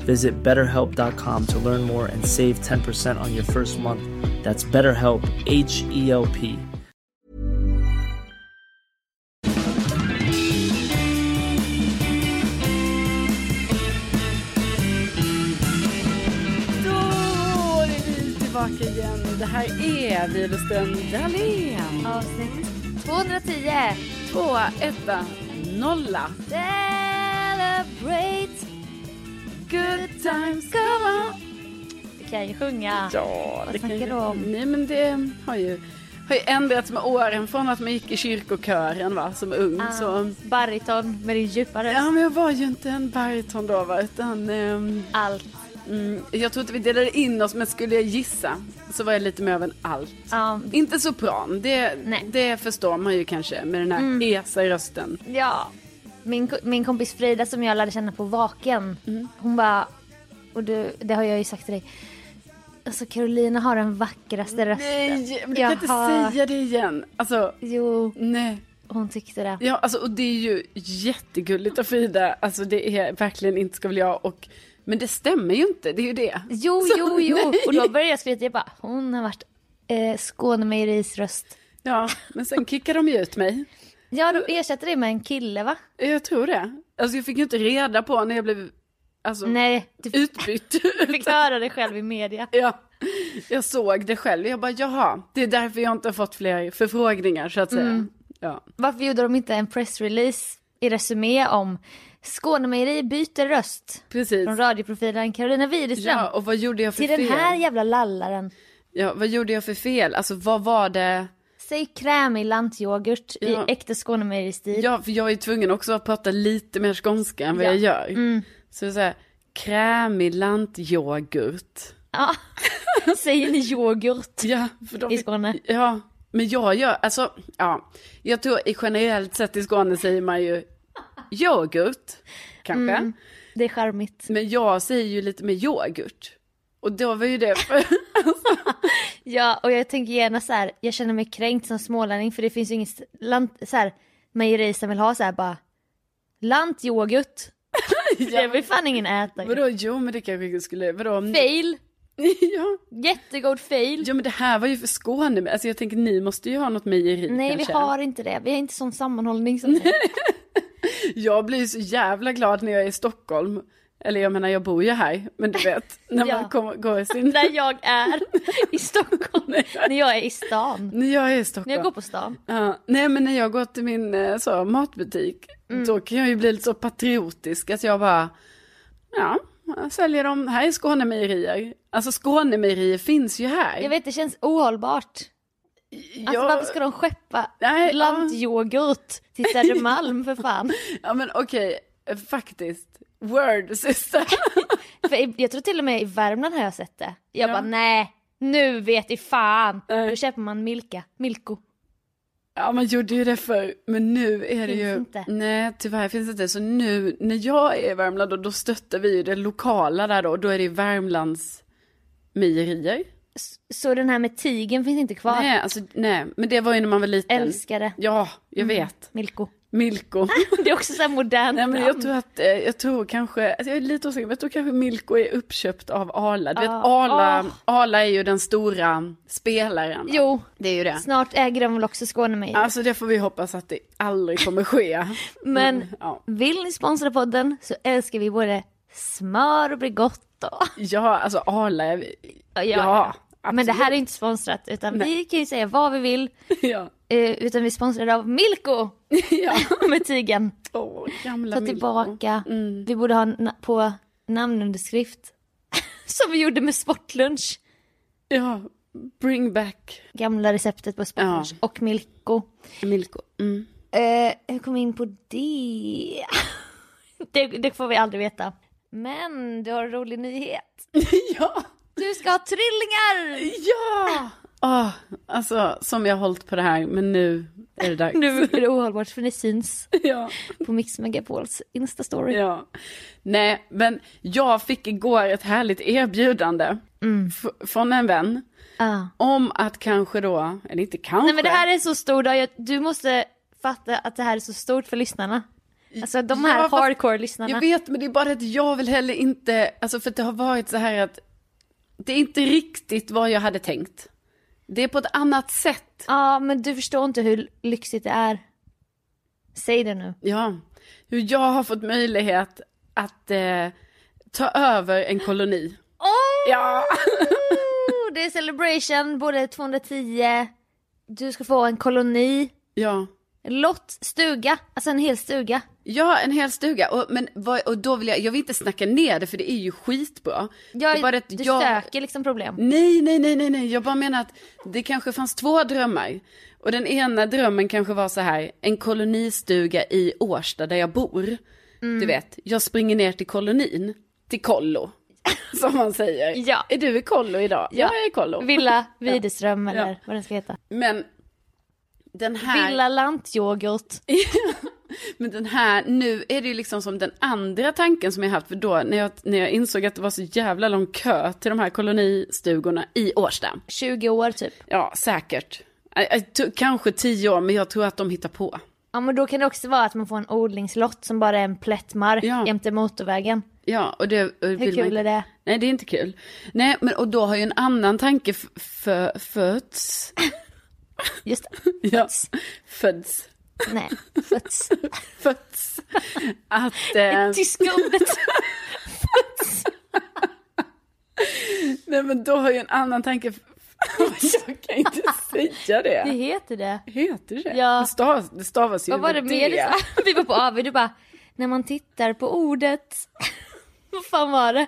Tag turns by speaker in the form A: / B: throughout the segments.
A: Visit betterhelp.com to learn more and save 10% on your first month. That's BetterHelp, H E L P.
B: Då är vi tillbaka igen. Det här är Widersten Dahlén.
C: Avsnitt 210.
B: Två, etta, nolla.
C: Celebrate.
B: Good times come on.
C: Du kan ju sjunga.
B: Ja,
C: Vad snackar du om?
B: Nej, men det har ju, har ju ändrats med åren från att man gick i kyrkokören va, som ung.
C: Ah,
B: Så,
C: Bariton med din djupa röst.
B: ja, men jag var ju inte en bariton då, va, utan ehm,
C: Allt.
B: mm, jag tror inte vi delade in oss, men skulle jag gissa så var jag lite mer av en allt.
C: Ja,
B: Inte sopran, det,
C: Nej. Mm.
B: det förstår man ju kanske med den här esa i rösten.
C: ja. Min, ko- min kompis Frida som jag lärde känna på Vaken.
B: Mm.
C: Hon bara, och du, det har jag ju sagt till dig. Alltså Carolina har den vackraste rösten.
B: Nej, men du
C: Jag
B: kan inte
C: har-
B: säga det igen. Alltså,
C: Jo,
B: nej.
C: hon tyckte det.
B: Ja, alltså, och det är ju jättegulligt av Frida. Alltså det är verkligen inte ska väl jag och... Men det stämmer ju inte, det är ju det.
C: Jo,
B: Så,
C: jo, jo.
B: nej.
C: Och då började jag skryta. Jag bara, hon har varit eh, Skånemejeris röst.
B: Ja, men sen kickar de ju ut mig.
C: Ja, de ersatte det med en kille va?
B: Jag tror det. Alltså jag fick ju inte reda på när jag blev alltså,
C: Nej, du
B: utbytt.
C: fick höra det själv i media.
B: ja, jag såg det själv. Jag bara, jaha, det är därför jag inte har fått fler förfrågningar så att säga.
C: Mm.
B: Ja.
C: Varför gjorde de inte en pressrelease i Resumé om Skånemejeri byter röst
B: Precis.
C: från radioprofilen Carolina Widerström
B: Ja, och vad gjorde jag för
C: till
B: fel?
C: den här jävla lallaren.
B: Ja, vad gjorde jag för fel? Alltså vad var det?
C: Säg krämig lantyoghurt
B: Ja.
C: i äkta Skånemejeristil.
B: Ja, för jag är tvungen också att prata lite mer skånska än vad jag gör. Så det är så här, krämig lantyoghurt.
C: Ja. Säger ni yoghurt?
B: Ja, för de,
C: I Skåne.
B: Ja, men jag gör, alltså, ja. Jag tror i generellt sett i Skåne säger man ju yoghurt, kanske.
C: Det är charmigt.
B: Men jag säger ju lite med yoghurt. Och då var ju det,
C: Ja, och jag tänker gärna så här, jag känner mig kränkt som smålänning för det finns ju inget lant, så här, mejeri som vill ha så här bara lantyoghurt. Det vill fan ingen äta.
B: vadå, jo men det kanske skulle, vadå?
C: Fail,
B: ja.
C: jättegod fail.
B: ja, men det här var ju för Skåne, men alltså jag tänker ni måste ju ha något mejeri
C: Nej
B: kanske.
C: vi har inte det, vi har inte sån sammanhållning som
B: Jag blir så jävla glad när jag är i Stockholm. Eller jag menar jag bor ju här, men du vet, när man
C: Ja.
B: kommer, går i sin...
C: där jag är i Stockholm, när jag är i stan.
B: När jag är i Stockholm.
C: När jag går på stan.
B: Ja, nej men när jag går till min eh, så, matbutik,
C: Mm.
B: då kan jag ju bli lite så patriotisk. Alltså jag bara, ja, jag säljer dem, här är Skånemejerier. Alltså Skånemejerier finns ju här.
C: Jag vet det känns ohållbart. Alltså
B: Jag-
C: varför ska de skeppa
B: Nej, ja.
C: lantyoghurt till Södermalm för fan?
B: Ja men okej, eh, faktiskt. Word sister.
C: För i- jag tror till och med i Värmland har jag sett det. Jag bara nej, nu vet i fan.
B: Nej.
C: Då köper man Milka, Milko.
B: ja man gjorde ju det förr, men nu är det
C: Finns
B: ju...
C: inte.
B: Nej tyvärr finns det inte. Så nu när jag är i Värmland då, då stöttar vi ju det lokala där då, då är det Värmlands mejerier.
C: S- Så den här med tigen finns inte kvar.
B: Nej, alltså, nej, men det var ju när man var liten.
C: Älskade.
B: Ja, jag
C: Mm.
B: vet.
C: Milko.
B: Milko.
C: Det är också så här modernt
B: Nej, men jag
C: namn.
B: tror att, eh, jag tror kanske, alltså jag är lite osäker, men jag tror kanske Milko är uppköpt av Arla. Du vet,
C: Ah.
B: Arla,
C: Ah.
B: Arla är ju den stora spelaren. va?
C: Jo,
B: Det är ju det.
C: snart äger de väl också Skånemejerier.
B: Alltså det får vi hoppas att det aldrig kommer ske.
C: Men
B: Mm, ja.
C: vill ni sponsra podden så älskar vi både smör och Brigotto.
B: Ja, alltså Arla, är-
C: Ja,
B: absolut.
C: Men det här är inte sponsrat utan vi kan ju säga vad vi vill.
B: Ja,
C: eh, Utan vi är sponsrade av Milko
B: ja.
C: med tigen.
B: Åh, gamla Milko.
C: Ta
B: Mm.
C: tillbaka. Vi borde ha na- på namnunderskrift. Som vi gjorde med Sportlunch.
B: Ja, bring back
C: Gamla receptet på Sportlunch
B: Ja.
C: och Milko.
B: Milko. Mm.
C: Eh, hur kom vi in på det? det? Det får vi aldrig veta. Men du har en rolig nyhet.
B: Ja,
C: Du ska ha trillingar!
B: ja! Åh, alltså som jag har hållit på det här, men nu är det dags.
C: Nu är det ohållbart för det syns
B: Ja.
C: på Mix Megapols Insta-story.
B: Ja. Nej, men jag fick igår ett härligt erbjudande
C: Mm.
B: f- från en vän
C: Ah.
B: om att kanske då, eller inte kanske,
C: Nej men det här är så stor dag, Jag- du måste fatta att det här är så stort för lyssnarna. Alltså de här
B: Ja, fast-
C: hardcore-lyssnarna.
B: jag vet men det är bara att jag vill heller inte, alltså för att det har varit så här att det är inte riktigt vad jag hade tänkt. Det är på ett annat sätt.
C: Ja men du förstår inte hur lyxigt det är. Säg det nu.
B: Ja, hur jag har fått möjlighet att eh, ta över en koloni.
C: Åh!
B: Ja,
C: Det är celebration, både 210, du ska få en koloni,
B: ja.
C: lott, stuga, alltså en hel stuga.
B: Ja, en hel stuga. Och, men vad, och då vill jag, jag vill inte snacka ner det för det är ju skitbra.
C: Jag,
B: Det är bara att
C: du
B: jag-
C: söker liksom problem.
B: Nej, nej, nej, nej, nej. Jag bara menar att det kanske fanns två drömmar. Och den ena drömmen kanske var så här, en kolonistuga i Årsta där jag bor.
C: Mm.
B: Du vet, jag springer ner till kolonin, till kollo. Som man säger.
C: Ja.
B: Är du i kollo idag? Ja, jag är i kollo.
C: Villa Widerström eller vad den ska heta.
B: Men den här...
C: Villa Lantyoghurt.
B: Men den här, nu är det ju liksom som den andra tanken som jag haft, för då när jag, när jag insåg att det var så jävla lång kö till de här kolonistugorna i Årsta.
C: 20 år typ.
B: Ja, säkert. Ä- ä, t- Kanske tio år, men jag tror att de hittar på.
C: Ja men då kan det också vara att man får en odlingslott som bara är en plätt mark
B: Ja.
C: jämte motorvägen.
B: Ja, och det och vill
C: Hur
B: man
C: kul
B: inte-
C: är det?
B: Nej, det är inte kul. Nej, men och då har ju en annan tanke f- f- fötts.
C: Just det.
B: Ja,
C: Fötts.
B: fötts.
C: Nej, fötts.
B: Fötts. Att... Eh,
C: Tyska ordet.
B: nej, men då har ju en annan tanke... f- jag kan inte säga
C: Det
B: det.
C: heter det.
B: Heter det?
C: Ja.
B: Det, stavas, det stavas ju
C: Vad var det
B: med
C: mer du sa? Vi var på AW, du bara, när man tittar på ordet. Vad fan var det?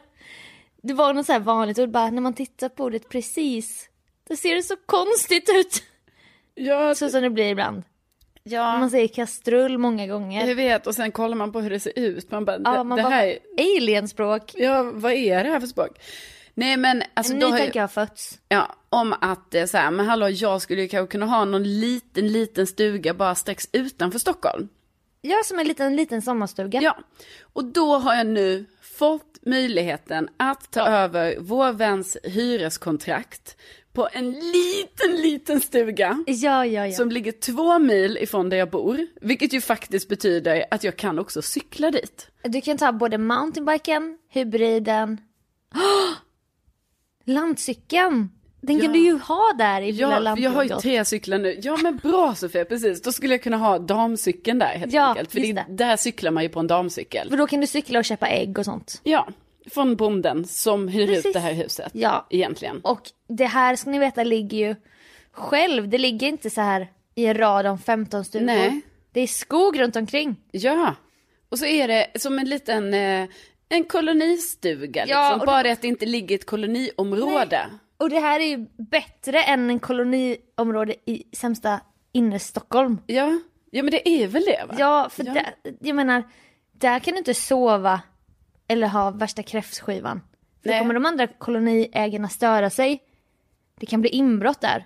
C: Det var något så här vanligt ord, bara när man tittar på ordet precis. Då ser det så konstigt ut.
B: Ja,
C: Så som det blir ibland.
B: ja.
C: Man säger kastrull många gånger.
B: Jag vet, och sen kollar man på hur det ser ut. Man bara,
C: Ja,
B: det,
C: man
B: det
C: bara,
B: här är,
C: alienspråk.
B: ja, vad är det här för språk? Nej men alltså
C: en
B: då
C: ny
B: har
C: tanke
B: jag,
C: har fötts.
B: ja, om att eh, så här, men hallå jag skulle ju kanske kunna ha någon liten, liten stuga bara strax utanför Stockholm.
C: Ja, som en liten, liten sommarstuga.
B: Ja, och då har jag nu fått möjligheten att ta över vår väns hyreskontrakt på en liten, liten stuga.
C: ja, ja. ja.
B: Som ligger två mil ifrån där jag bor, vilket ju faktiskt betyder att jag kan också cykla dit.
C: Du kan ta både mountainbiken, hybriden... Åh! Landcykeln! Den kan du ju ha där i Villa
B: Ja, för jag har ju
C: Lantbygård.
B: tre cyklar nu. Ja men bra Sofia, precis. Då skulle jag kunna ha damcykeln där helt
C: Ja,
B: enkelt. För det,
C: just
B: är-
C: det.
B: där cyklar man ju på en damcykel.
C: För då kan du cykla och köpa ägg och sånt.
B: Ja, från bonden som hyr ut
C: Precis.
B: det här huset.
C: Ja.
B: Egentligen.
C: Och det här ska ni veta ligger ju själv, det ligger inte så här i en rad om 15 stugor.
B: Nej.
C: Det är skog runt omkring.
B: Ja. Och så är det som en liten, eh, en kolonistuga
C: Ja,
B: liksom.
C: och då-
B: Bara att det inte ligger i ett koloniområde.
C: Och det här är ju bättre än en koloniområde i sämsta innerstockholm.
B: Ja. ja, men det är väl det va?
C: Ja, för Där, jag menar, där kan du inte sova eller ha värsta kräftskivan. För
B: Nej.
C: kommer de andra koloniägarna störa sig, det kan bli inbrott där.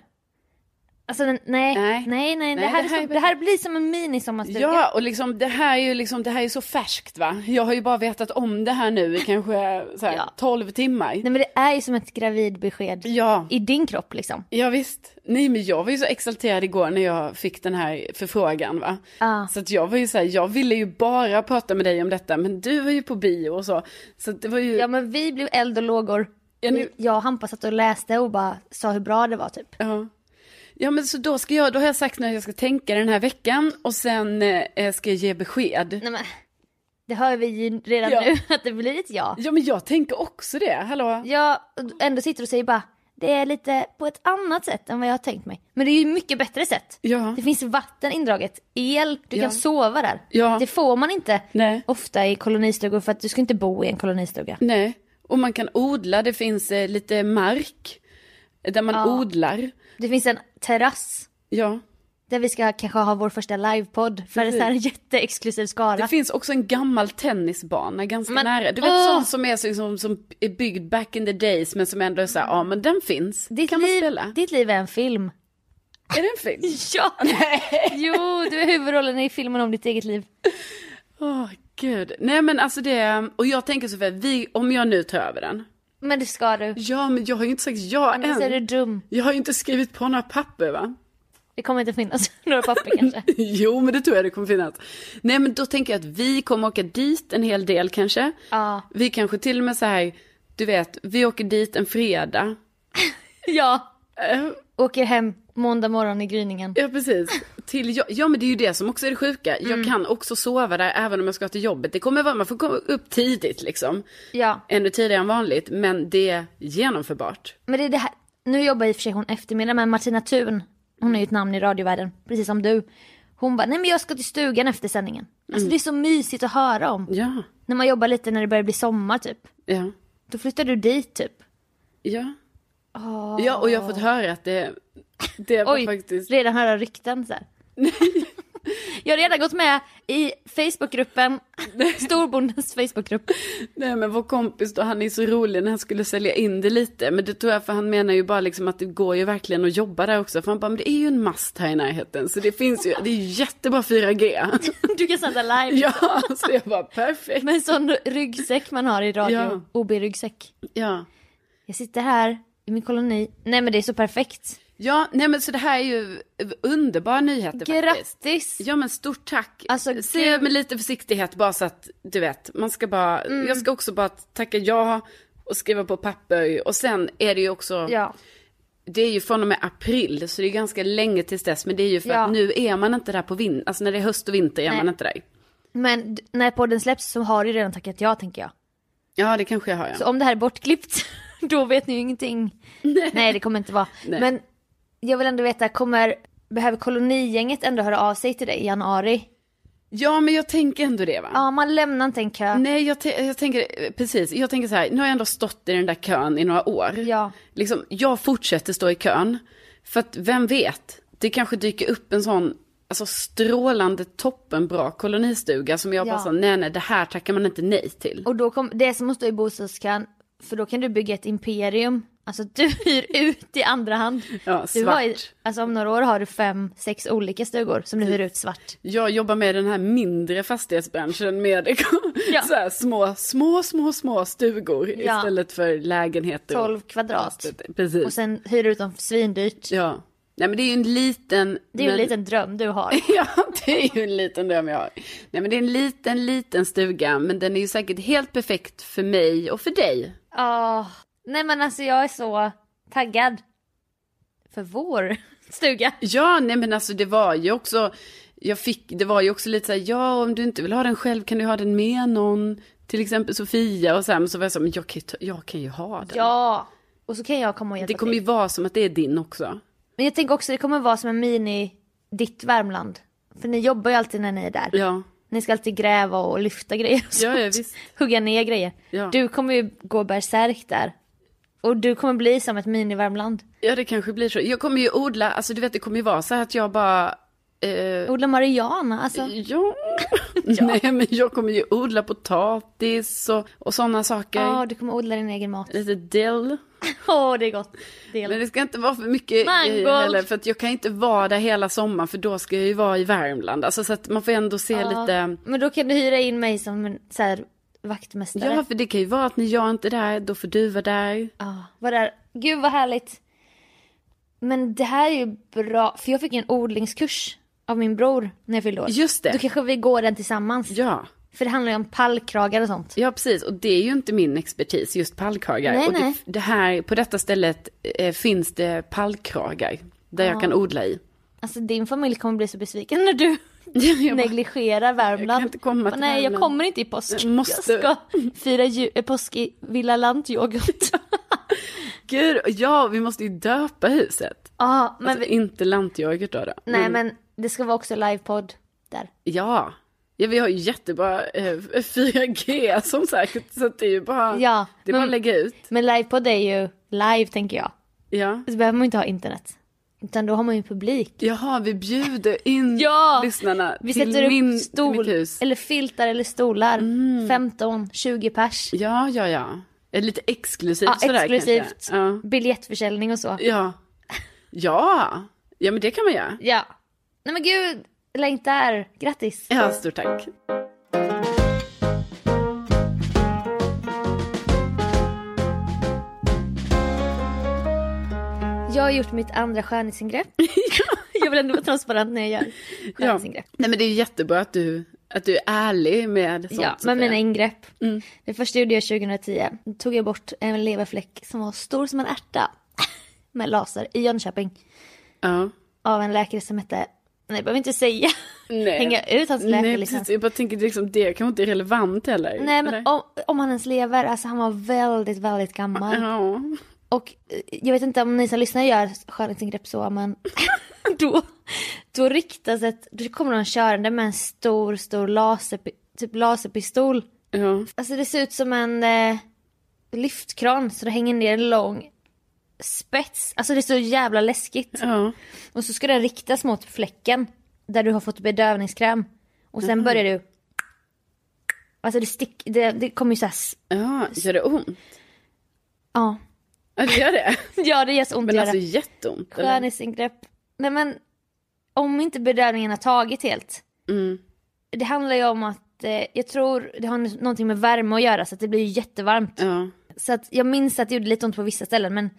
C: Alltså den, nej, nej,
B: Nej.
C: nej, nej. Det,
B: Nej,
C: här
B: det
C: är
B: här
C: som,
B: är-
C: det här blir som en mini-sommarstuga.
B: Ja, och liksom, det här är ju liksom, det här är så färskt va. Jag har ju bara vetat om det här nu i kanske så här,
C: Ja.
B: 12 timmar.
C: Nej men det är ju som ett gravidbesked
B: Ja.
C: i din kropp liksom.
B: Ja visst. Nej men jag var ju så exalterad igår när jag fick den här förfrågan va.
C: Ja.
B: Så att jag var ju så här, jag ville ju bara prata med dig om detta men du var ju på bio och så. Så att det var ju,
C: Ja men vi blev eld och lågor.
B: Ja, nu-
C: Jag och Hampa satt och läste och bara sa hur bra det var typ.
B: ja. Ja men så då ska jag, då har jag sagt när jag ska tänka den här veckan och sen eh, ska jag ge besked.
C: Nej men, det hör vi ju redan
B: Ja.
C: nu att det blir ett ja.
B: Ja men jag tänker också det, hallå.
C: Ja, och ändå sitter du och säger bara det är lite på ett annat sätt än vad jag har tänkt mig. Men det är ju mycket bättre sätt.
B: Ja.
C: Det finns vatten indraget, el, du
B: Ja.
C: kan sova där.
B: Ja.
C: Det får man inte
B: Nej. Mm.
C: ofta i kolonistugor för att du ska inte bo i en kolonistuga.
B: Nej. Och man kan odla, det finns eh, lite mark där man odlar.
C: Det finns en terrass
B: Ja.
C: där vi ska kanske ha vår första livepodd för en sån här jätteexklusiv
B: Det
C: skara.
B: finns också en gammal tennisbana ganska
C: Men-
B: nära. Du vet
C: Åh!
B: sån som är, så, som, som är byggd back in the days men som ändå är så här, ja men den finns.
C: Ditt,
B: kan man
C: liv,
B: spela.
C: ditt liv är en film.
B: Är det en film?
C: Ja! jo, du är huvudrollen i filmen om ditt eget liv.
B: Åh gud. Nej men alltså det, och jag tänker så här, vi, om jag nu tar över den.
C: Men det ska du.
B: Ja men jag har ju inte sagt ja
C: Annars är du
B: än.
C: dum.
B: Jag har ju inte skrivit på några papper va?
C: Det kommer inte finnas några papper kanske.
B: Jo men det tror jag det kommer finnas. Nej men då tänker jag att vi kommer åka dit en hel del kanske.
C: Ja.
B: Vi kanske till och med så här, du vet, vi åker dit en fredag.
C: Ja.
B: Eh,
C: Åker hem måndag morgon i gryningen.
B: Ja precis. Till, jo- ja men det är ju det som också är det sjuka. Jag kan också sova där även om jag ska till jobbet. Det kommer vara, man får komma upp tidigt liksom.
C: Ja.
B: Ännu tidigare än vanligt. Men det är genomförbart.
C: Men det är det här. Nu jobbar i och för sig hon eftermiddag med Martina Thun. Hon är ju ett namn i radiovärlden, precis som du. Hon bara, nej men jag ska till stugan efter sändningen.
B: Mm.
C: Alltså det är så mysigt att höra om.
B: Ja,
C: När man jobbar lite när det börjar bli sommar typ.
B: ja,
C: Då flyttar du dit typ.
B: ja. Ja och jag har fått höra att det, det var
C: Oj,
B: faktiskt.
C: redan höra rykten så här. jag har redan gått med i Facebookgruppen, storbondens Facebookgrupp.
B: Nej men vår kompis då, han är så rolig när han skulle sälja in det lite. Men det tror jag för han menar ju bara liksom att det går ju verkligen att jobba där också. För han bara, men det är ju en mast här i närheten. Så det finns ju, det är ju jättebra 4G.
C: Du kan sända live.
B: Ja, så jag bara perfekt.
C: Med en sån ryggsäck man har i radio,
B: Ja.
C: OB-ryggsäck.
B: Ja.
C: Jag sitter här i min koloni. Nej men det är så perfekt.
B: Ja, nej men så det här är ju underbara nyheter faktiskt.
C: Grattis!
B: Ja men stort tack.
C: Alltså,
B: Säg
C: gud.
B: med lite försiktighet bara så att du vet, man ska bara,
C: Mm.
B: jag ska också bara tacka ja och skriva på papper och sen är det ju också,
C: Ja.
B: det är ju från och med april så det är ganska länge tills dess men det är ju för
C: Ja.
B: att nu är man inte där på vintern, alltså när det är höst och vinter är
C: Nej.
B: man inte där.
C: Men d- när podden släpps så har du redan tackat ja tänker jag.
B: Ja det kanske jag har ja.
C: Så om det här är bortklippt, då vet ni ju ingenting. Nej, det kommer inte vara.
B: Nej.
C: Men jag vill ändå veta, kommer, behöver kolonigänget ändå höra av sig till dig i januari?
B: Ja men jag tänker ändå det va.
C: Ja, man lämnar inte en kö.
B: Nej, jag, te- jag tänker precis. Jag tänker så här, nu har jag ändå stått i den där kön i några år.
C: Ja.
B: Liksom, jag fortsätter stå i kön. För att vem vet, det kanske dyker upp en sån alltså, strålande toppenbra kolonistuga som jag
C: Ja.
B: bara sa, nej nej, det här tackar man inte nej till.
C: Och då kom, det är som att stå i bostadskön, för då kan du bygga ett imperium. Alltså du hyr ut i andra hand.
B: Ja,
C: Du har, ju-
B: svart.
C: alltså om några år har du fem, sex olika stugor som du hyr ut svart.
B: Jag jobbar med den här mindre fastighetsbranschen med
C: Ja.
B: så här, små, små, små, små stugor
C: Ja.
B: istället för lägenheter. och-
C: 12 kvadrat.
B: Precis.
C: Och sen hyr ut dem svindyrt.
B: Ja. Nej men det är ju en liten...
C: Det är ju en
B: men-
C: liten dröm du har.
B: Ja, det är ju en liten dröm jag har. Nej, men det är en liten, liten stuga, men den är ju säkert helt perfekt för mig och för dig.
C: Ja. Nej men alltså jag är så taggad. För vår stuga.
B: Ja, nej men alltså det var ju också, jag fick, det var ju också lite så här, ja om du inte vill ha den själv kan du ha den med någon, till exempel Sofia och så här, men så var jag så här, men jag kan ju, ta, jag kan ju ha den.
C: Ja. Och så kan jag komma och hjälpa
B: det kommer ju
C: till.
B: vara som att det är din också.
C: Men jag tänker också det kommer vara som en mini ditt Värmland. För ni jobbar ju alltid när ni är där.
B: Ja,
C: Ni ska alltid gräva och lyfta grejer och
B: Ja, ja,
C: sånt.
B: visst.
C: Hugga ner grejer.
B: Ja.
C: Du kommer ju gå berserk där. Och du kommer bli som ett mini-Värmland.
B: ja det kanske blir så. Jag kommer ju odla, alltså du vet det kommer ju vara så här att jag bara,
C: Odla marijuana, alltså.
B: ja, nej men jag kommer ju odla potatis och, och sådana saker.
C: Ja, du kommer odla din egen mat.
B: Lite dill.
C: Åh, det är gott. Det är
B: Men det ska inte vara för mycket
C: Mango.
B: grejer heller, för att jag kan inte vara där hela sommaren för då ska jag ju vara i Värmland. Alltså, så att man får ändå se lite.
C: Men då kan du hyra in mig som en så här, vaktmästare.
B: Ja, för det kan ju vara att när jag inte är där, då får du vara där.
C: Ja, vad där. Gud vad härligt. Men det här är ju bra, för jag fick ju en odlingskurs av min bror när jag fyllde år.
B: Just det.
C: Då kanske vi går den tillsammans.
B: Ja,
C: För det handlar ju om pallkragar och sånt.
B: ja precis. Och det är ju inte min expertis, just pallkragar.
C: Nej,
B: och det,
C: nej.
B: det här, på detta stället eh, finns det pallkragar där jag kan odla i.
C: Alltså din familj kommer bli så besviken när du
B: Jag bara,
C: negligerar Värmland.
B: jag kan inte komma till
C: Nej, jag
B: Värmland.
C: kommer inte i påsk.
B: Jag måste.
C: Jag ska fira ju, eh, påsk i Villa Lantyoghurt.
B: Gud, ja, vi måste ju döpa huset.
C: ja, men
B: Men alltså,
C: vi,
B: inte lantyoghurt då. då.
C: nej men det ska vara också livepodd där.
B: Ja. ja, vi har ju jättebra eh, 4G som säkert, så att det är ju bara,
C: Ja,
B: det är bara
C: men-
B: att lägga ut.
C: Men livepodd är ju live tänker jag.
B: Ja.
C: Så behöver man ju inte ha internet. Utan då har man ju publik.
B: Jaha, vi bjuder in
C: Ja!
B: lyssnarna
C: Vi
B: till
C: sätter
B: min,
C: upp
B: till
C: stol,
B: mitt hus. Mm.
C: eller filtar eller stolar. 15, 20 pers.
B: Ja, ja, ja. Eh, Lite exklusivt
C: Ja,
B: typ sådär
C: exklusivt.
B: kanske. Ja.
C: Biljettförsäljning och så.
B: Ja. ja, ja, men det kan man göra.
C: Ja. Nej men gud, längtar. Grattis.
B: Ja, stort tack.
C: Jag har gjort mitt andra skönhetsingrepp. jag vill ändå vara transparent när jag gör
B: Ja.
C: skönhetsingrepp.
B: Nej, men det är ju jättebra att du, att du är ärlig med sånt.
C: Ja,
B: Sofia.
C: med mina ingrepp.
B: Mm.
C: Det första gjorde jag 2010. Då tog jag bort en leverfläck som var stor som en ärta. med laser i Jönköping.
B: ja.
C: Av en läkare som hette, nej jag behöver inte säga.
B: Nej.
C: Hänga ut hans
B: Nej,
C: läkarlicens.
B: precis. Jag bara tänker liksom, det kanske inte är relevant heller.
C: Nej men
B: eller?
C: om, om han ens lever, alltså han var väldigt, väldigt gammal.
B: Ja.
C: Och eh, jag vet inte om ni som lyssnar gör skönhetsingrepp så men då, då riktas ett, då kommer någon körande med en stor, stor laser, typ laserpistol.
B: ja.
C: Alltså det ser ut som en eh, lyftkran så det hänger ner en lång spets. Alltså det är så jävla läskigt.
B: Ja.
C: Och så ska den riktas mot fläcken där du har fått bedövningskräm. Och sen
B: Mhm.
C: börjar du... Alltså det, stick, det, det kommer ju såhär...
B: Ja, gör det ont?
C: Ja.
B: Ja, det gör det.
C: ja, det gör så ont
B: Men
C: att
B: alltså
C: göra.
B: jätteont. eller?
C: Skönhetsingrepp. Nej men, om inte bedövningen har tagit helt.
B: Mm.
C: Det handlar ju om att, eh, jag tror det har någonting med värme att göra så att det blir ju jättevarmt.
B: Ja.
C: Så att jag minns att det gjorde lite ont på vissa ställen men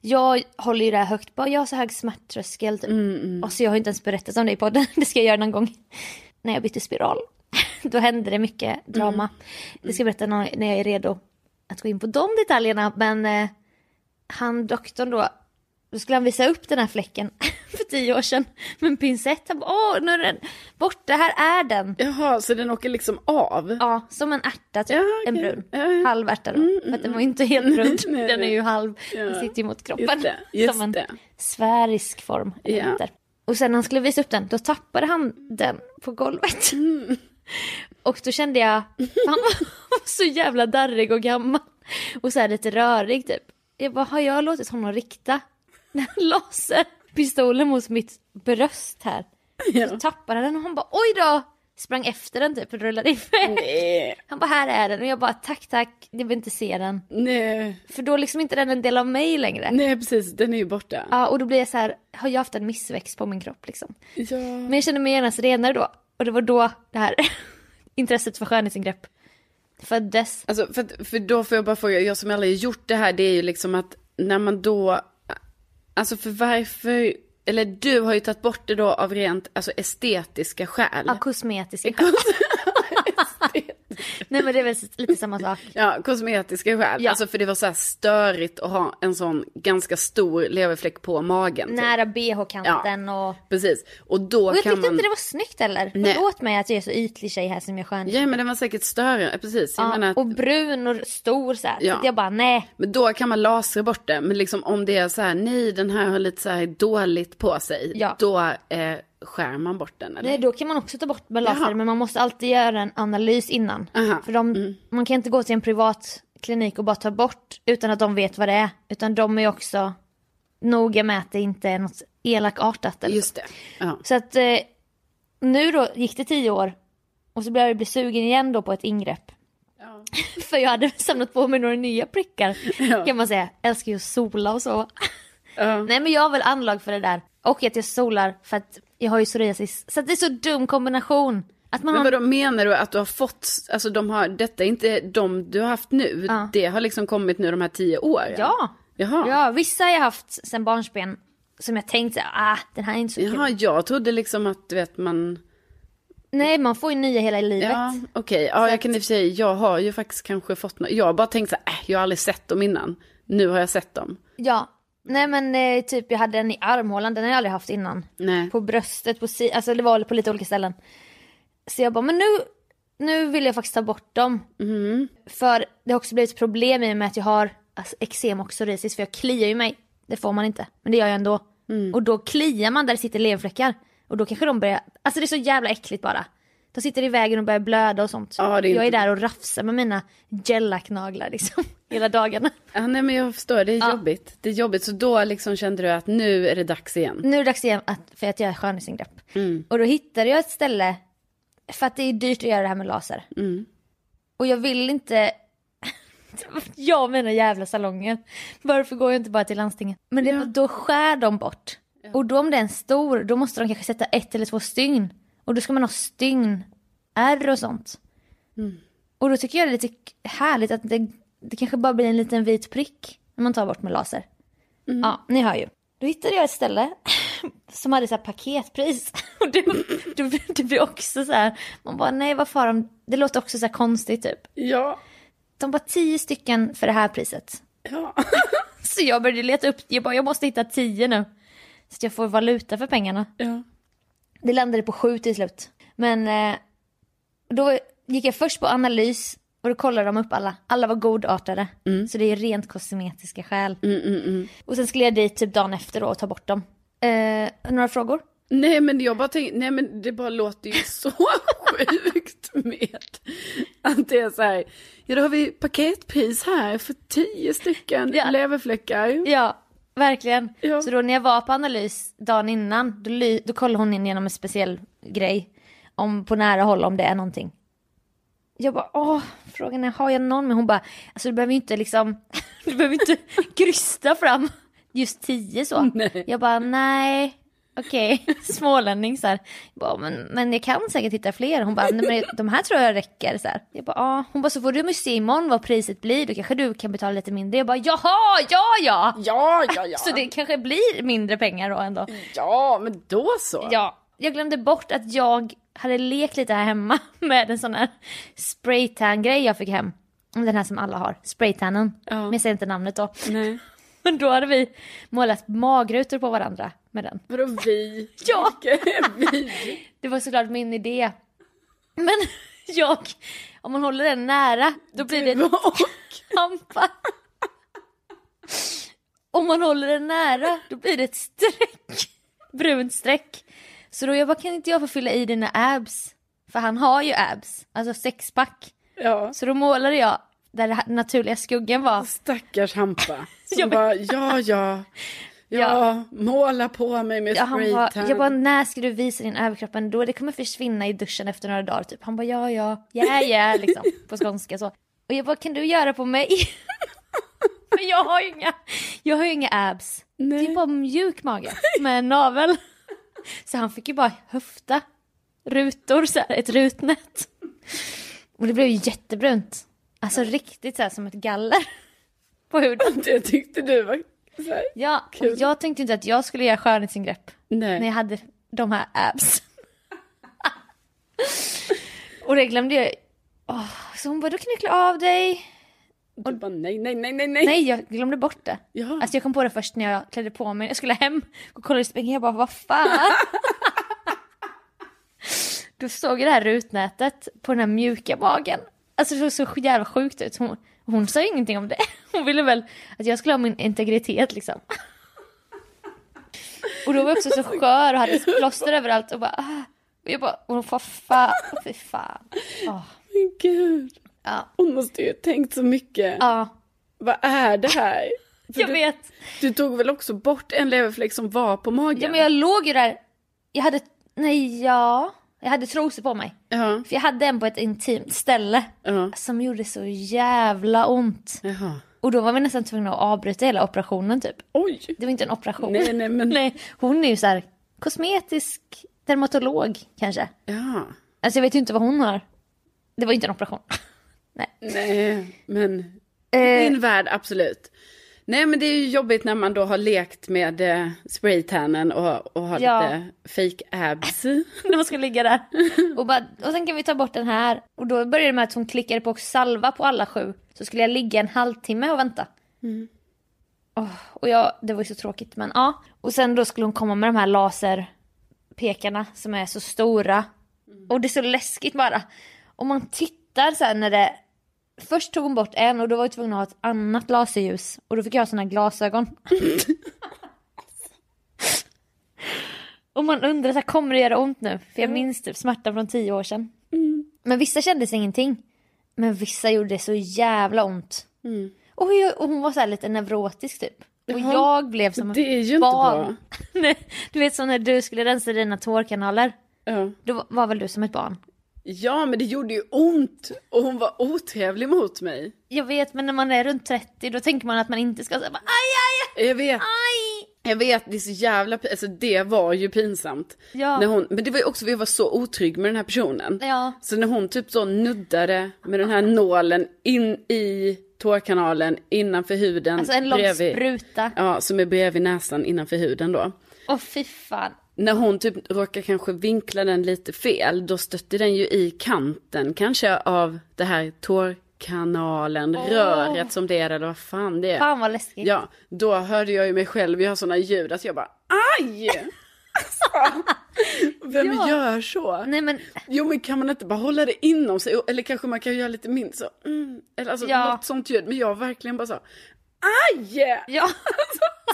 C: jag håller ju det här högt. Bara, jag har så hög smärttröskel.
B: Mm.
C: Typ. Och så jag har inte ens berättat om det i podden. Det ska jag göra någon gång. När jag bytte spiral. Då hände det mycket drama. Det ska jag berätta nå- när jag är redo att gå in på de detaljerna. Men eh, han doktorn då. Då skulle han visa upp den här fläcken för tio år sedan. Med en pincett. Han bara, åh nu är den borta, här är den.
B: Jaha, så den åker liksom av?
C: Ja, som en ärta typ.
B: Ja, okej.
C: En brun.
B: Ja, ja. Mm,
C: Halv ärta då. För att den var ju inte helt rund.
B: nej,
C: den är
B: nej.
C: ju halv. Den
B: Ja.
C: sitter ju mot kroppen.
B: Just det, just
C: som en
B: det.
C: sfärisk form. eller
B: Ja.
C: något där. Och sen när han skulle visa upp den, då tappade han den på golvet.
B: Mm.
C: Och då kände jag, han var så jävla darrig och gammal. Och så här lite rörig typ. Jag bara, har jag låtit honom rikta den här laserpistolen mot mitt bröst här? Så
B: Ja.
C: tappade han den och han bara, oj då! Sprang efter den typ och rullade iväg.
B: Nej.
C: Han bara här är den och jag bara tack tack, jag vill inte se den.
B: Nej.
C: För då är liksom inte den en del av mig längre.
B: Nej, precis. Den är ju borta.
C: Ja, och då blir jag så här, har jag haft en missväxt på min kropp liksom?
B: Ja.
C: Men jag kände mig genast renare då. Och det var då det här intresset för skönhetsingrepp föddes.
B: Alltså, för, att- för då får jag bara fråga, jag som aldrig har gjort det här, det är ju liksom att när man då, alltså för varför, eller du har ju tagit bort det då av rent alltså, estetiska skäl.
C: Ja, kosmetiska. Nej men det är väl lite samma sak.
B: Ja, kosmetiska skäl.
C: Ja.
B: Alltså för det var så här störigt att ha en sån ganska stor leverfläck på magen. typ.
C: Nära bh-kanten och...
B: Precis. Och då
C: Och jag
B: kan
C: tyckte
B: man...
C: inte det var snyggt heller.
B: Nej.
C: Förlåt mig att jag är så ytlig tjej här som jag skönhet.
B: Ja, men den var säkert större. Ja, Precis. Jag menar
C: Ja,
B: att...
C: och brun och stor så här.
B: Ja.
C: Så jag bara nej.
B: Men då kan man lasra bort det. Men liksom om det är så här, nej den här har lite så här dåligt på sig.
C: Ja.
B: Då eh, skär man bort den eller?
C: Nej, då kan man också ta bort med laser,
B: Jaha.
C: men man måste alltid göra en analys innan.
B: Aha, Mm.
C: För de, man kan inte gå till en privat klinik och bara ta bort utan att de vet vad det är. Utan de är också noga med att det inte är något elakartat. Eller så.
B: Just det. Ja.
C: Så att eh, nu då gick det tio år och så började jag bli sugen igen då på ett ingrepp.
B: Ja.
C: För jag hade samlat på mig några nya prickar
B: Ja.
C: kan man säga. Jag älskar ju att sola och så.
B: Ja.
C: Nej men jag har väl anlag för det där. Och att jag solar för att jag har ju psoriasis. Så att det är så dum kombination. Att man
B: Men
C: har...
B: vadå, menar du att du har fått, alltså de har, detta är inte de du har haft nu,
C: Ja.
B: det har liksom kommit nu de här tio åren?
C: Ja.
B: Jaha.
C: ja, vissa har jag haft sen barnsben som jag tänkt såhär, ah den här är inte så kul.
B: Jaha, jag trodde liksom att du vet man,
C: Nej man får ju nya hela livet.
B: ja okej, ja jag kan i och för sig, jag har ju faktiskt kanske fått något, jag har bara tänkt så här, äh, jag har aldrig sett dem innan, nu har jag sett dem.
C: Ja. Nej men eh, typ jag hade en i armhålan, den har jag aldrig haft innan.
B: Nej.
C: På bröstet, på si- alltså det var på lite olika ställen. Så jag bara, men nu, nu vill jag faktiskt ta bort dem.
B: Mm-hmm.
C: För det har också blivit problem i och med att jag har alltså, eksem och psoriasis för jag kliar ju mig. Det får man inte, men det gör jag ändå.
B: Mm.
C: Och då kliar man där det sitter leverfläckar. Och då kanske de börjar, alltså det är så jävla äckligt bara. De sitter i vägen och börjar blöda och sånt.
B: Ja, det är
C: jag är
B: inte-
C: där och rafsar med mina gellacknaglar liksom, hela dagarna.
B: Ja, nej men jag förstår, det är jobbigt, det är jobbigt, så då liksom kände du att nu är det dags igen.
C: nu är det dags igen att, för att göra skönhetsingrepp. Och då hittade jag ett ställe, för att det är dyrt att göra det här med laser. Och jag vill inte, jag och mina jävla salonger, varför går jag inte bara till landstinget? Men det, då skär de bort. Och då om det är en stor, då måste de kanske sätta ett eller två stygn. Och då ska man ha stygn, ärr och sånt. Och då tycker jag det är lite härligt att det, det kanske bara blir en liten vit prick när man tar bort med laser. Ja, ni hör ju. Då hittade jag ett ställe som hade så här paketpris. Och det, det, det blir också så här, man bara nej vad far om, det låter också så här konstigt typ.
B: Ja,
C: De var tio stycken för det här priset.
B: ja.
C: Så jag började leta upp, jag bara jag måste hitta tio nu. Så att jag får valuta för pengarna.
B: ja.
C: Det landade på sju till slut. Men eh, då gick jag först på analys och då kollade de upp alla. Alla var godartade. Så det är rent kosmetiska skäl. Och sen skulle jag dit typ dagen efter då och ta bort dem. Eh, några frågor?
B: Nej men jag bara tänker, nej men det bara låter ju så sjukt med att det är så här, ja då har vi paketpris här för tio stycken
C: Ja.
B: leverfläckar.
C: Ja, verkligen.
B: Ja.
C: Så då när jag var på analys dagen innan, då, ly- då kollade hon in genom en speciell grej. Om, på nära håll om det är någonting. Jag bara, åh, frågan är, har jag någon? Men hon bara, alltså du behöver ju inte liksom, du behöver inte krysta fram just tio så.
B: Nej.
C: Jag bara, nej, okej, smålänning så här. Jag bara, men, men jag kan säkert hitta fler. Hon bara, nej men de här tror jag räcker så här. Jag bara, ja. Hon bara, så får du se imorgon vad priset blir, då kanske du kan betala lite mindre. Jag bara, jaha, ja, ja.
B: Ja, ja, Mm. ja.
C: Så det kanske blir mindre pengar då ändå.
B: Ja, men då så.
C: Ja. Jag glömde bort att jag hade lekt lite här hemma med en sån här spraytan-grej jag fick hem. Den här som alla har, spraytannen.
B: Ja.
C: Men jag säger inte namnet då.
B: Nej.
C: Men då hade vi målat magrutor på varandra med den.
B: Vadå vi?
C: Ja.
B: Vilka är vi?
C: Det var såklart min idé. Men jag, om man håller den nära, då blir det en
B: Och,
C: kampa. Om man håller den nära, då blir det ett streck. Brunt streck. Så då jag bara, kan inte jag få fylla i dina abs? För han har ju abs, alltså sexpack.
B: ja.
C: Så då målade jag där den naturliga skuggan var.
B: Stackars Hampa. Som
C: Ja, men-
B: bara, ja, ja. Ja,
C: Ja.
B: måla på mig med
C: Ja, han bara,
B: spraytan.
C: jag bara, när ska du visa din överkropp ändå? Det kommer försvinna i duschen efter några dagar typ. Han bara, ja ja, ja ja, liksom. På skånska så. Och jag bara, kan du göra på mig? Men jag har ju inga, jag har ju inga abs. Det är bara mjuk mage med en navel. Så han fick ju bara höfta rutor, så här, ett rutnät. Och det blev ju jättebrunt. Alltså riktigt så här som ett galler på huden.
B: Det tyckte du var så här.
C: Ja, och
B: Kul.
C: jag tänkte inte att jag skulle göra skönhetsingrepp
B: Nej.
C: när jag hade de här abs. och det glömde jag. Åh, så hon bara, då kan du klä av dig.
B: Du bara, nej, nej, nej, nej, nej.
C: Nej, jag glömde bort det.
B: Ja.
C: Alltså jag kom på det först när jag klädde på mig. Jag skulle hem och kolla i spegeln. Jag bara, vad fan? då såg jag det här rutnätet på den här mjuka magen. Alltså det såg så jävla sjukt ut. Hon, hon sa ju ingenting om det. Hon ville väl att jag skulle ha min integritet liksom. Och då var jag också så skör och hade plåster överallt och bara... "Ah." Och jag bara, och vad fan, fy fan. Åh,
B: Men gud.
C: ja,
B: Hon måste ju ha tänkt så mycket.
C: ja,
B: Vad är det här? För
C: jag
B: du,
C: vet.
B: du tog väl också bort en leverfläck som var på magen?
C: Ja men jag låg ju där, jag hade, nej ja, Jag hade trosor på mig.
B: Ja.
C: För jag hade en på ett intimt ställe
B: Mm. Ja.
C: som gjorde så jävla ont.
B: Jaha.
C: Och då var vi nästan tvungna att avbryta hela operationen typ.
B: Oj.
C: Det var inte en operation.
B: Nej, nej, men-
C: nej, hon är ju så här kosmetisk dermatolog kanske.
B: Ja.
C: Alltså jag vet ju inte vad hon har. Det var ju inte en operation. nej.
B: Nej, men
C: Eh,
B: Min värld, absolut. Nej men det är ju jobbigt när man då har lekt med eh, spraytannen och, och har
C: Ja.
B: lite fake abs.
C: när man ska ligga där. Och, bara, och sen kan vi ta bort den här. Och då började det med att hon klickade på salva på alla sju. Så skulle jag ligga en halvtimme och vänta. Åh, och jag, det var ju så tråkigt men ja. Och sen då skulle hon komma med de här laserpekarna som är så stora.
B: Mm.
C: Och det är så läskigt bara. Om man tittar så här när det... Först tog hon bort en och då var jag tvungen att ha ett annat laserljus. Och då fick jag ha såna här glasögon. Och man undrar så här, kommer det göra ont nu? För jag minns typ smärtan från tio år sedan.
B: Mm.
C: Men vissa kändes ingenting. Men vissa gjorde det så jävla ont. Och, jag, och hon var så här lite neurotisk typ. Och
B: Mm. Jaha.
C: jag blev som
B: Det är ju inte bra.
C: Nej, du vet som när du skulle rensa dina tårkanaler.
B: Ja.
C: Då var väl du som ett barn?
B: ja men det gjorde ju ont och hon var otrevlig mot mig.
C: Jag vet men när man är runt 30 då tänker man att man inte ska säga bara, aj aj
B: Jag vet,
C: aj.
B: jag vet det är så jävla pin- alltså det var ju pinsamt.
C: Ja.
B: När hon, men det var ju också, vi var så otrygg med den här personen.
C: Ja.
B: Så när hon typ så nuddade med den här nålen in i tårkanalen innanför huden.
C: Alltså en lång
B: bredvid-
C: spruta.
B: Ja, som är bredvid näsan innanför huden då.
C: Åh fy fan.
B: när hon typ råkar kanske vinkla den lite fel, då stötte den ju i kanten kanske av det här tårkanalen, röret som det är eller vad fan det är.
C: Fan vad läskigt.
B: Ja, då hörde jag ju mig själv göra sådana ljud att jag bara aj! Alltså, Vem
C: Ja.
B: gör så?
C: Nej men
B: Jo men kan man inte bara hålla det inom sig? Eller kanske man kan göra lite mindre så, mm, eller alltså
C: Ja.
B: något sånt ljud. Men jag verkligen bara så, aj!
C: ja.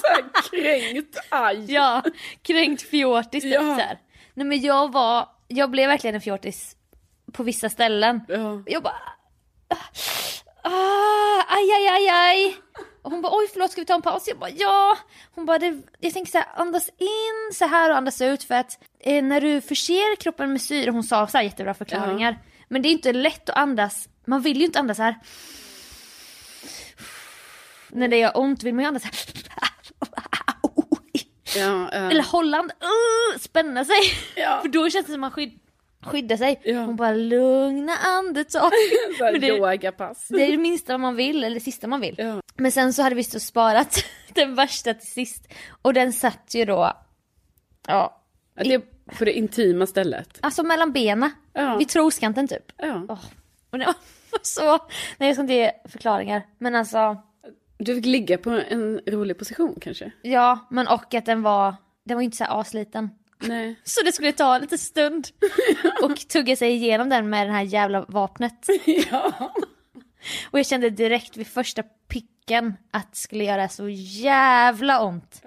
B: Så här kränkt aj.
C: Ja, kränkt fjortis. typ
B: Ja.
C: Så här. Nej men jag var, jag blev verkligen en fjortis på vissa ställen.
B: Ja.
C: Jag bara, ah, aj aj aj aj. Och hon bara oj förlåt ska vi ta en paus? Jag bara ja. Hon bara det, jag tänker så här andas in så här och andas ut för att eh, när du förser kroppen med syre, hon sa så här jättebra förklaringar. Men det är inte lätt att andas, man vill ju inte andas så här. När det gör ont vill man ju andas så här.
B: Ja, ja.
C: Eller Holland, uh, spänna sig.
B: Ja.
C: För då känns det som att man skydd, skyddar sig.
B: Ja.
C: Hon bara lugna andetag.
B: Så här
C: Men det,
B: yogapass.
C: det är det minsta man vill, eller det sista man vill.
B: Ja.
C: Men sen så hade vi så sparat den värsta till sist. Och den satt ju då, ja,
B: Ja, det är på det intima stället.
C: alltså mellan benen.
B: Ja.
C: Vid troskanten typ.
B: Ja.
C: Åh, Och det var så, nej jag ska inte ge förklaringar. Men alltså,
B: Du fick ligga på en rolig position kanske?
C: ja, men och att den var, den var ju inte så här asliten.
B: Nej.
C: Så det skulle ta lite stund och tugga sig igenom den med det här jävla vapnet.
B: Ja.
C: Och jag kände direkt vid första picken att det skulle göra så jävla ont.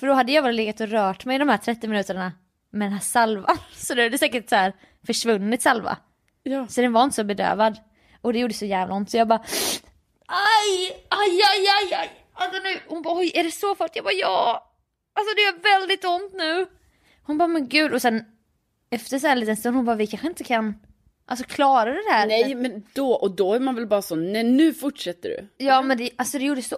C: För då hade jag bara legat och rört mig de här 30 minuterna med den här salvan. Så då hade det säkert så här försvunnit salva.
B: Ja.
C: Så den var inte så bedövad. Och det gjorde så jävla ont så jag bara Aj! Aj, aj, aj, aj! Alltså nu, hon bara oj, är det så farligt? Jag bara ja! Alltså det gör väldigt ont nu! Hon bara men gud och sen efter så här en liten stund hon bara vi kanske inte kan Alltså klarar du det här?
B: Nej men då, och då är man väl bara så, nej nu fortsätter du.
C: Ja men det, alltså det gjorde så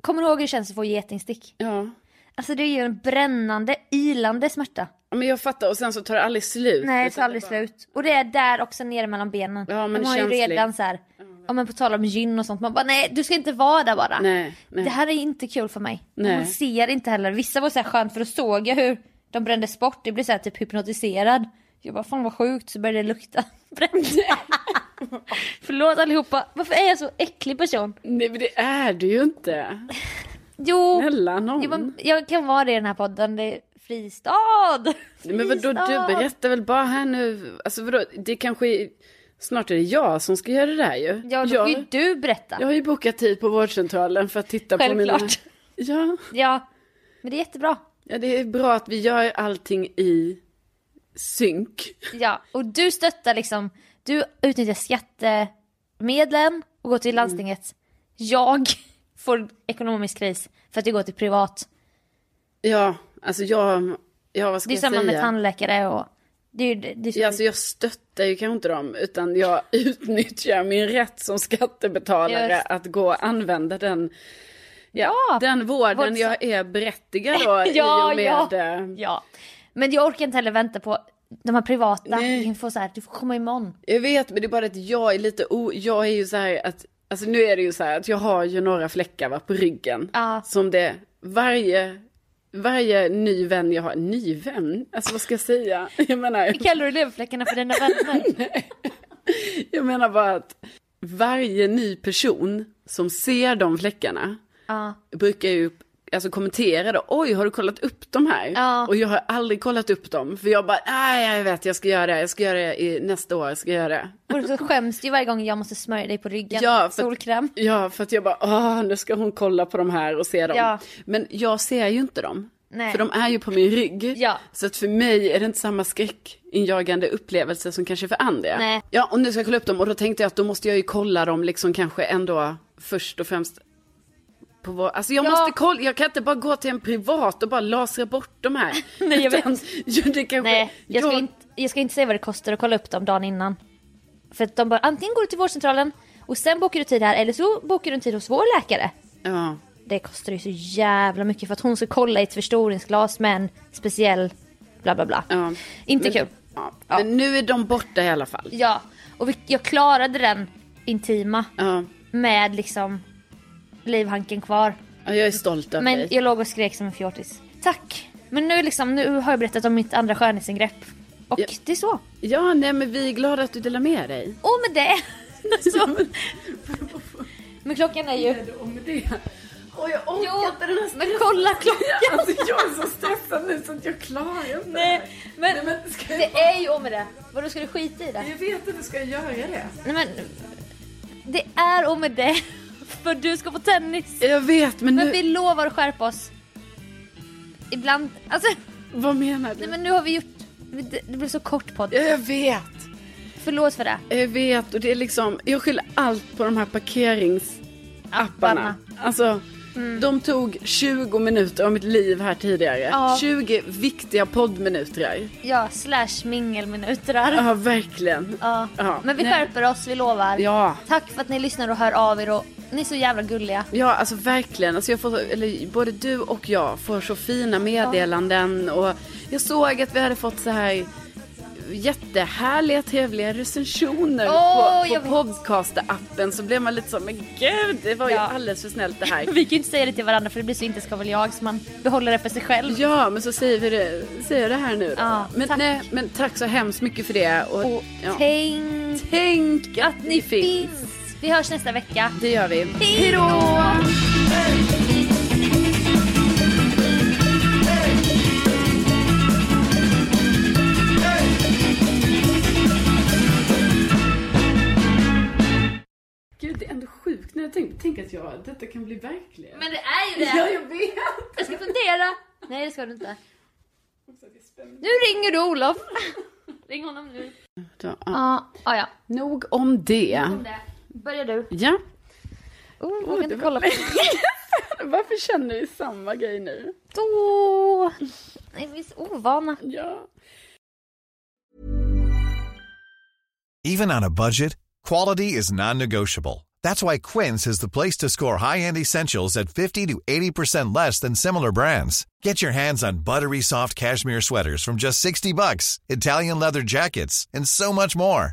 C: Kommer du ihåg hur det känns att få getingstick?
B: Ja.
C: Alltså det är ju en brännande, ilande smärta.
B: Ja, Men jag fattar, och sen så tar det aldrig slut.
C: Nej, det
B: Utan
C: tar aldrig
B: bara-
C: slut. Och det är där också nere mellan benen.
B: Ja, men
C: De har ju
B: känslig.
C: redan så här, ja men på tal om gyn och sånt, man bara nej du ska inte vara där bara.
B: Nej, nej.
C: Det här är inte kul för mig. Och
B: Nej.
C: Man ser inte heller, vissa var så här skönt för då såg jag hur de brändes bort, det blev så här typ hypnotiserad. Jag bara fan vad sjukt så började det lukta bränt. Förlåt allihopa, varför är jag så äcklig person?
B: Nej men det är du ju inte.
C: Jo,
B: Snälla
C: jag,
B: någon.
C: var, jag kan vara det i den här podden, det är fristad!
B: Nej, men vadå, du berättar väl bara här nu, alltså vadå, det kanske, snart är det jag som ska göra det där ju.
C: Ja, då får ju
B: jag,
C: du berätta.
B: jag har ju bokat tid på vårdcentralen för att titta på mina...
C: Självklart.
B: Ja.
C: Ja, men det är jättebra.
B: ja, det är bra att vi gör allting i synk.
C: Ja, och du stöttar liksom, du utnyttjar skattemedlen och
B: Mm.
C: går till landstinget. Jag får ekonomisk kris för att jag går till privat.
B: Ja, alltså jag, ja vad ska
C: Det är
B: jag
C: samma
B: säga?
C: med tandläkare och Det är ju det, det är så-
B: Ja, Alltså jag stöttar ju kanske inte dem utan jag utnyttjar min rätt som skattebetalare
C: Just.
B: att gå och använda den, ja,
C: Ja,
B: den vården
C: vårdsa-
B: jag är berättigad då i
C: ja,
B: och med...
C: ja,
B: eh,
C: ja. Men jag orkar inte heller vänta på de här privata.
B: Nej.
C: Du får så här, du får komma imorgon.
B: Jag vet men det är bara att jag är lite o... Jag är ju så här att, alltså nu är det ju så här att jag har ju några fläckar va, på ryggen.
C: Ja.
B: Som det, varje, varje ny vän jag har, ny vän? Alltså vad ska jag säga? Jag menar,
C: Kallar du leverfläckarna för dina vänner?
B: jag menar bara att varje ny person som ser de fläckarna
C: ja.
B: brukar ju alltså kommentera då, oj har du kollat upp de här?
C: Ja.
B: Och jag har aldrig kollat upp dem, för jag bara, nej jag vet jag ska göra det, jag ska göra det i, nästa år, jag ska göra det.
C: Och så skäms du ju varje gång jag måste smörja dig på ryggen.
B: Ja, för-
C: Solkräm.
B: Ja, för att jag bara, åh nu ska hon kolla på de här och se dem.
C: Ja.
B: Men jag ser ju inte dem.
C: Nej.
B: För de är ju på min rygg.
C: Ja.
B: Så att för mig är det inte samma skräckinjagande upplevelse som kanske för andra.
C: Nej.
B: Ja, och nu ska jag kolla upp dem och då tänkte jag att då måste jag ju kolla dem liksom kanske ändå först och främst på vår... Alltså jag
C: Ja.
B: måste kolla, jag kan inte bara gå till en privat och bara lasra bort de här.
C: Nej, jag vet.
B: Utan- Jo, det kanske...
C: Nej, jag ska, inte, jag ska inte säga vad det kostar att kolla upp dem dagen innan. För att de bara, antingen går du till vårdcentralen och sen bokar du tid här eller så bokar du en tid hos vår läkare.
B: Ja.
C: Det kostar ju så jävla mycket för att hon ska kolla i ett förstoringsglas med en speciell bla bla bla.
B: Ja.
C: Inte
B: Men-
C: kul.
B: Ja. Men nu är de borta i alla fall.
C: Ja, och vi, jag klarade den intima
B: Ja.
C: med liksom livhanken kvar.
B: Ja, jag är stolt över
C: Men
B: dig.
C: jag låg och skrek som en fjortis. Tack! Men nu, liksom, nu har jag berättat om mitt andra skönhetsingrepp. Och
B: Ja.
C: det är så.
B: Ja, nej men vi är glada att du delar med dig.
C: Och med det! så. Men klockan är ju...
B: Åh, jag orkar
C: Jo, men kolla klockan!
B: Alltså jag är så stressad nu så att jag klarar inte
C: Nej, men
B: men ska jag-
C: det är ju om med det. Vadå, ska du skita i det?
B: Jag vet inte, ska jag göra det?
C: Nej men, det är om med det. För du ska på tennis.
B: Jag vet, men,
C: Men
B: nu,
C: vi lovar att skärpa oss. Ibland, alltså,
B: vad menar du?
C: nej men nu har vi gjort, det, det blev så kort podd.
B: Ja, Jag vet,
C: Förlåt för det.
B: jag vet och det är liksom, jag skyller allt på de här parkeringsapparna.
C: Apparna. Mm.
B: Alltså, de tog 20 minuter av mitt liv här tidigare.
C: Ja.
B: 20 viktiga poddminuter.
C: Ja, slash mingelminuter där.
B: Ja, verkligen.
C: Ja.
B: Ja.
C: Men vi
B: Nej.
C: skärper oss, vi lovar.
B: Ja.
C: Tack för att ni lyssnar och hör av er och ni är så jävla gulliga.
B: Ja, alltså verkligen. Alltså jag får, eller, både du och jag får så fina meddelanden. Och jag såg att vi hade fått så här jättehärliga, trevliga recensioner
C: Åh, jag
B: på, på
C: vet.
B: podcast-appen. Så blev man lite så, men gud, det var ju
C: Ja.
B: alldeles för snällt det här.
C: Vi kan ju inte säga det till varandra för det blir så inte ska väl jag så man behåller det för sig själv.
B: Ja, men så säger vi det, säger jag det här nu då.
C: Ja,
B: men,
C: tack.
B: Nej, men tack så hemskt mycket för det. Och,
C: Och
B: ja.
C: tänk
B: Tänk att ni finns.
C: finns. Vi hörs nästa vecka.
B: Det gör vi.
C: Hej då!
B: Gud, det är ändå sjukt när jag tänker, tänk att jag, detta kan bli verklighet.
C: Men det är ju det!
B: Ja, jag vet.
C: Jag ska fundera. Nej det ska du inte. Nu ringer du Olof. Ring honom nu.
B: Då, ja.
C: Ja, ah, ja.
B: Nog om det.
C: Om det. Börjar du.
B: Ja.
C: Oh, jag kan
B: det
C: inte
B: var-
C: kolla på
B: Varför känner vi samma grej nu?
C: Åh! Nej, vi är så ovana.
B: Ja.
D: Even on a budget, quality is non-negotiable. That's why Quince is the place to score high-end essentials at 50 to 80% less than similar brands. Get your hands on buttery soft cashmere sweaters from just 60 bucks, Italian leather jackets, and so much more.